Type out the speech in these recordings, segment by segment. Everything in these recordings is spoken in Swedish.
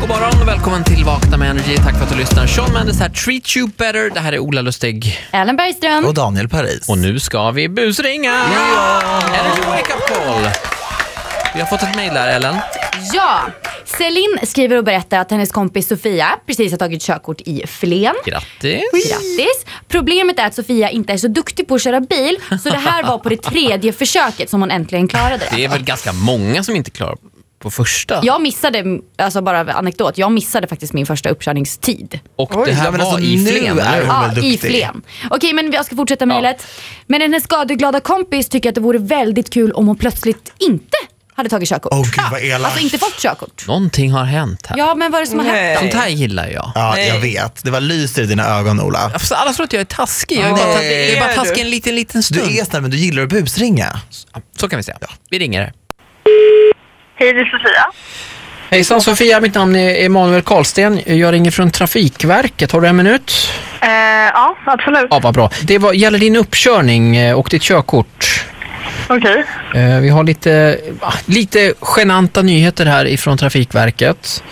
God morgon och välkommen till Vakna med Energy. Tack för att du lyssnar. Sean Mendes här, Treat You Better. Det här är Ola Lustig. Ellen Bergström. Och Daniel Paris. Och nu ska vi busringa! Energy Wake Up Call. Vi har fått ett mejl här, Ellen. Ja, Celine skriver och berättar att hennes kompis Sofia precis har tagit körkort i Flen. Grattis! Grattis! Problemet är att Sofia inte är så duktig på att köra bil så det här var på det tredje försöket som hon äntligen klarade det. Det är väl ganska många som inte klarar på första. Jag missade, alltså bara anekdot, jag missade faktiskt min första uppkörningstid. Och Oj, det här ja, var men alltså, i nu Flen, är eller hur? hon- Ja, väl i duktig. Flen. Okej, men jag ska fortsätta mejlet. Men hennes skadeglada kompis tycker att det vore väldigt kul om hon plötsligt inte hade tagit körkort. Åh, gud, vad elakt. Alltså inte fått körkort. Någonting har hänt här. Ja, men vad är det som har hänt då? Sånt här gillar jag. Ja, jag vet. Det var lyser i dina ögon, Ola. Alltså, Alla tror att jag är taskig. Jag är bara, Nej. jag är bara taskig en liten, liten Du stund. är snäll, men du gillar att busringa. Så kan vi säga. Vi ringer. Hej, det är Sofia. Hejsan Sofia, mitt namn är Emanuel Karlsten. Jag ringer från Trafikverket. Har du en minut? Eh, ja, absolut. Ja, vad bra. Det var, gäller din uppkörning eh, och ditt körkort. Okej. Eh, Vi har lite, ah, lite genanta nyheter här ifrån Trafikverket.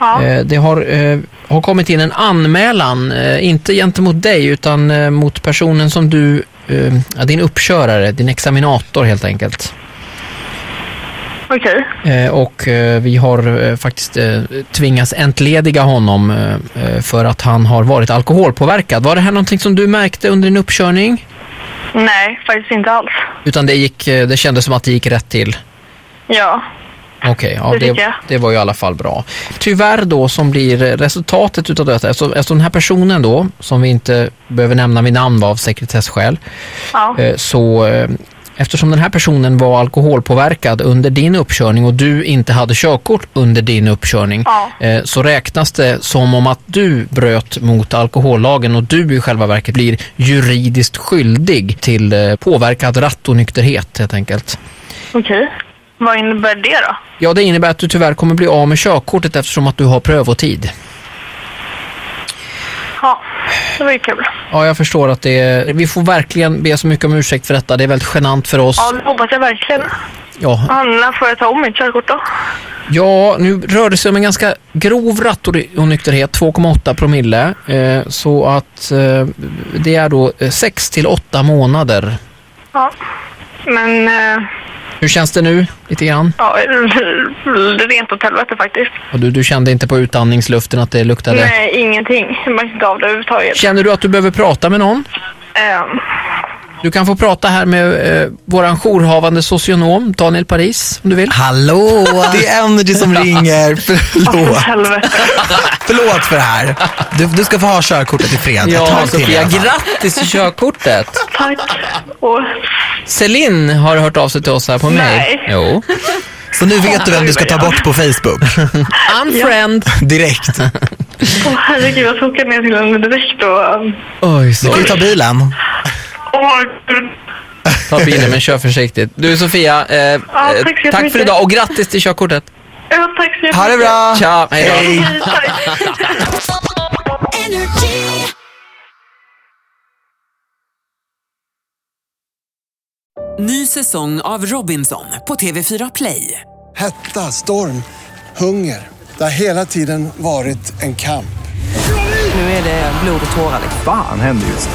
Ja. Eh, Det har, eh, har kommit in en anmälan, eh, inte gentemot dig utan eh, mot personen som du, eh, ja, din uppkörare, din examinator helt enkelt. Okej. Eh, Och eh, vi har eh, faktiskt eh, tvingats entlediga honom eh, eh, för att han har varit alkoholpåverkad. Var det här någonting som du märkte under din uppkörning? Nej, faktiskt inte alls. Utan det, gick, eh, det kändes som att det gick rätt till? Ja. Okej, Det ja, tycker det, jag. det var ju i alla fall bra. Tyvärr då som blir resultatet utav detta, eftersom, eftersom den här personen då, som vi inte behöver nämna vid namn av sekretesskäl, Ja. eh, så eh, eftersom den här personen var alkoholpåverkad under din uppkörning och du inte hade körkort under din uppkörning, Ja. eh, så räknas det som om att du bröt mot alkohollagen och du i själva verket blir juridiskt skyldig till eh, påverkad rattonykterhet helt enkelt. Okej. Vad innebär det då? Ja, det innebär att du tyvärr kommer bli av med körkortet eftersom att du har prövotid. Ja, det var ju kul. Ja, jag förstår att det är... Vi får verkligen be så mycket om ursäkt för detta. Det är väldigt genant för oss. Ja, det hoppas jag verkligen. Ja, Ja, när får jag ta om mitt körkort då? ja nu rör det sig om en ganska grov rattonykterhet, 2,8 promille. Eh, så att eh, det är då 6 till 8 månader. Ja. Men, eh, Hur känns det nu? Lite grann? ja, rent åt helvete faktiskt. Och du, du kände inte på utandningsluften att det luktade? Nej, ingenting. Jag märkte inte av det överhuvudtaget. Känner du att du behöver prata med någon? Eh, Du kan få prata här med eh, våran jourhavande socionom Daniel Paris om du vill. Hallå! Det är Energy som ringer. åt Förlåt. helvete. Förlåt för det här. Du, du ska få ha körkortet i fredag. Ta Ja, en till i Sofia, alla fall. grattis till körkortet! Tack. Och, Celine har hört av sig till oss här på mig. Nej. Jo. Så nu vet du vem du ska ta bort på Facebook. Unfriend! Direkt. åh, herregud, jag ska åka ner till henne direkt och... eh, Oj, Du kan ju så. ta bilen. Åh, gud. Ta bilen men kör försiktigt. Du Sofia, eh, tack så eh, tack jättemycket. för idag och grattis till körkortet. Ja, tack så jättemycket. Ha det bra. Tja, hej då. Hej, tack. Ny säsong av Robinson på TV4 Play. Hetta, storm, hunger. Det har hela tiden varit en kamp. Nu är det blod och tårar. Fan händer just nu.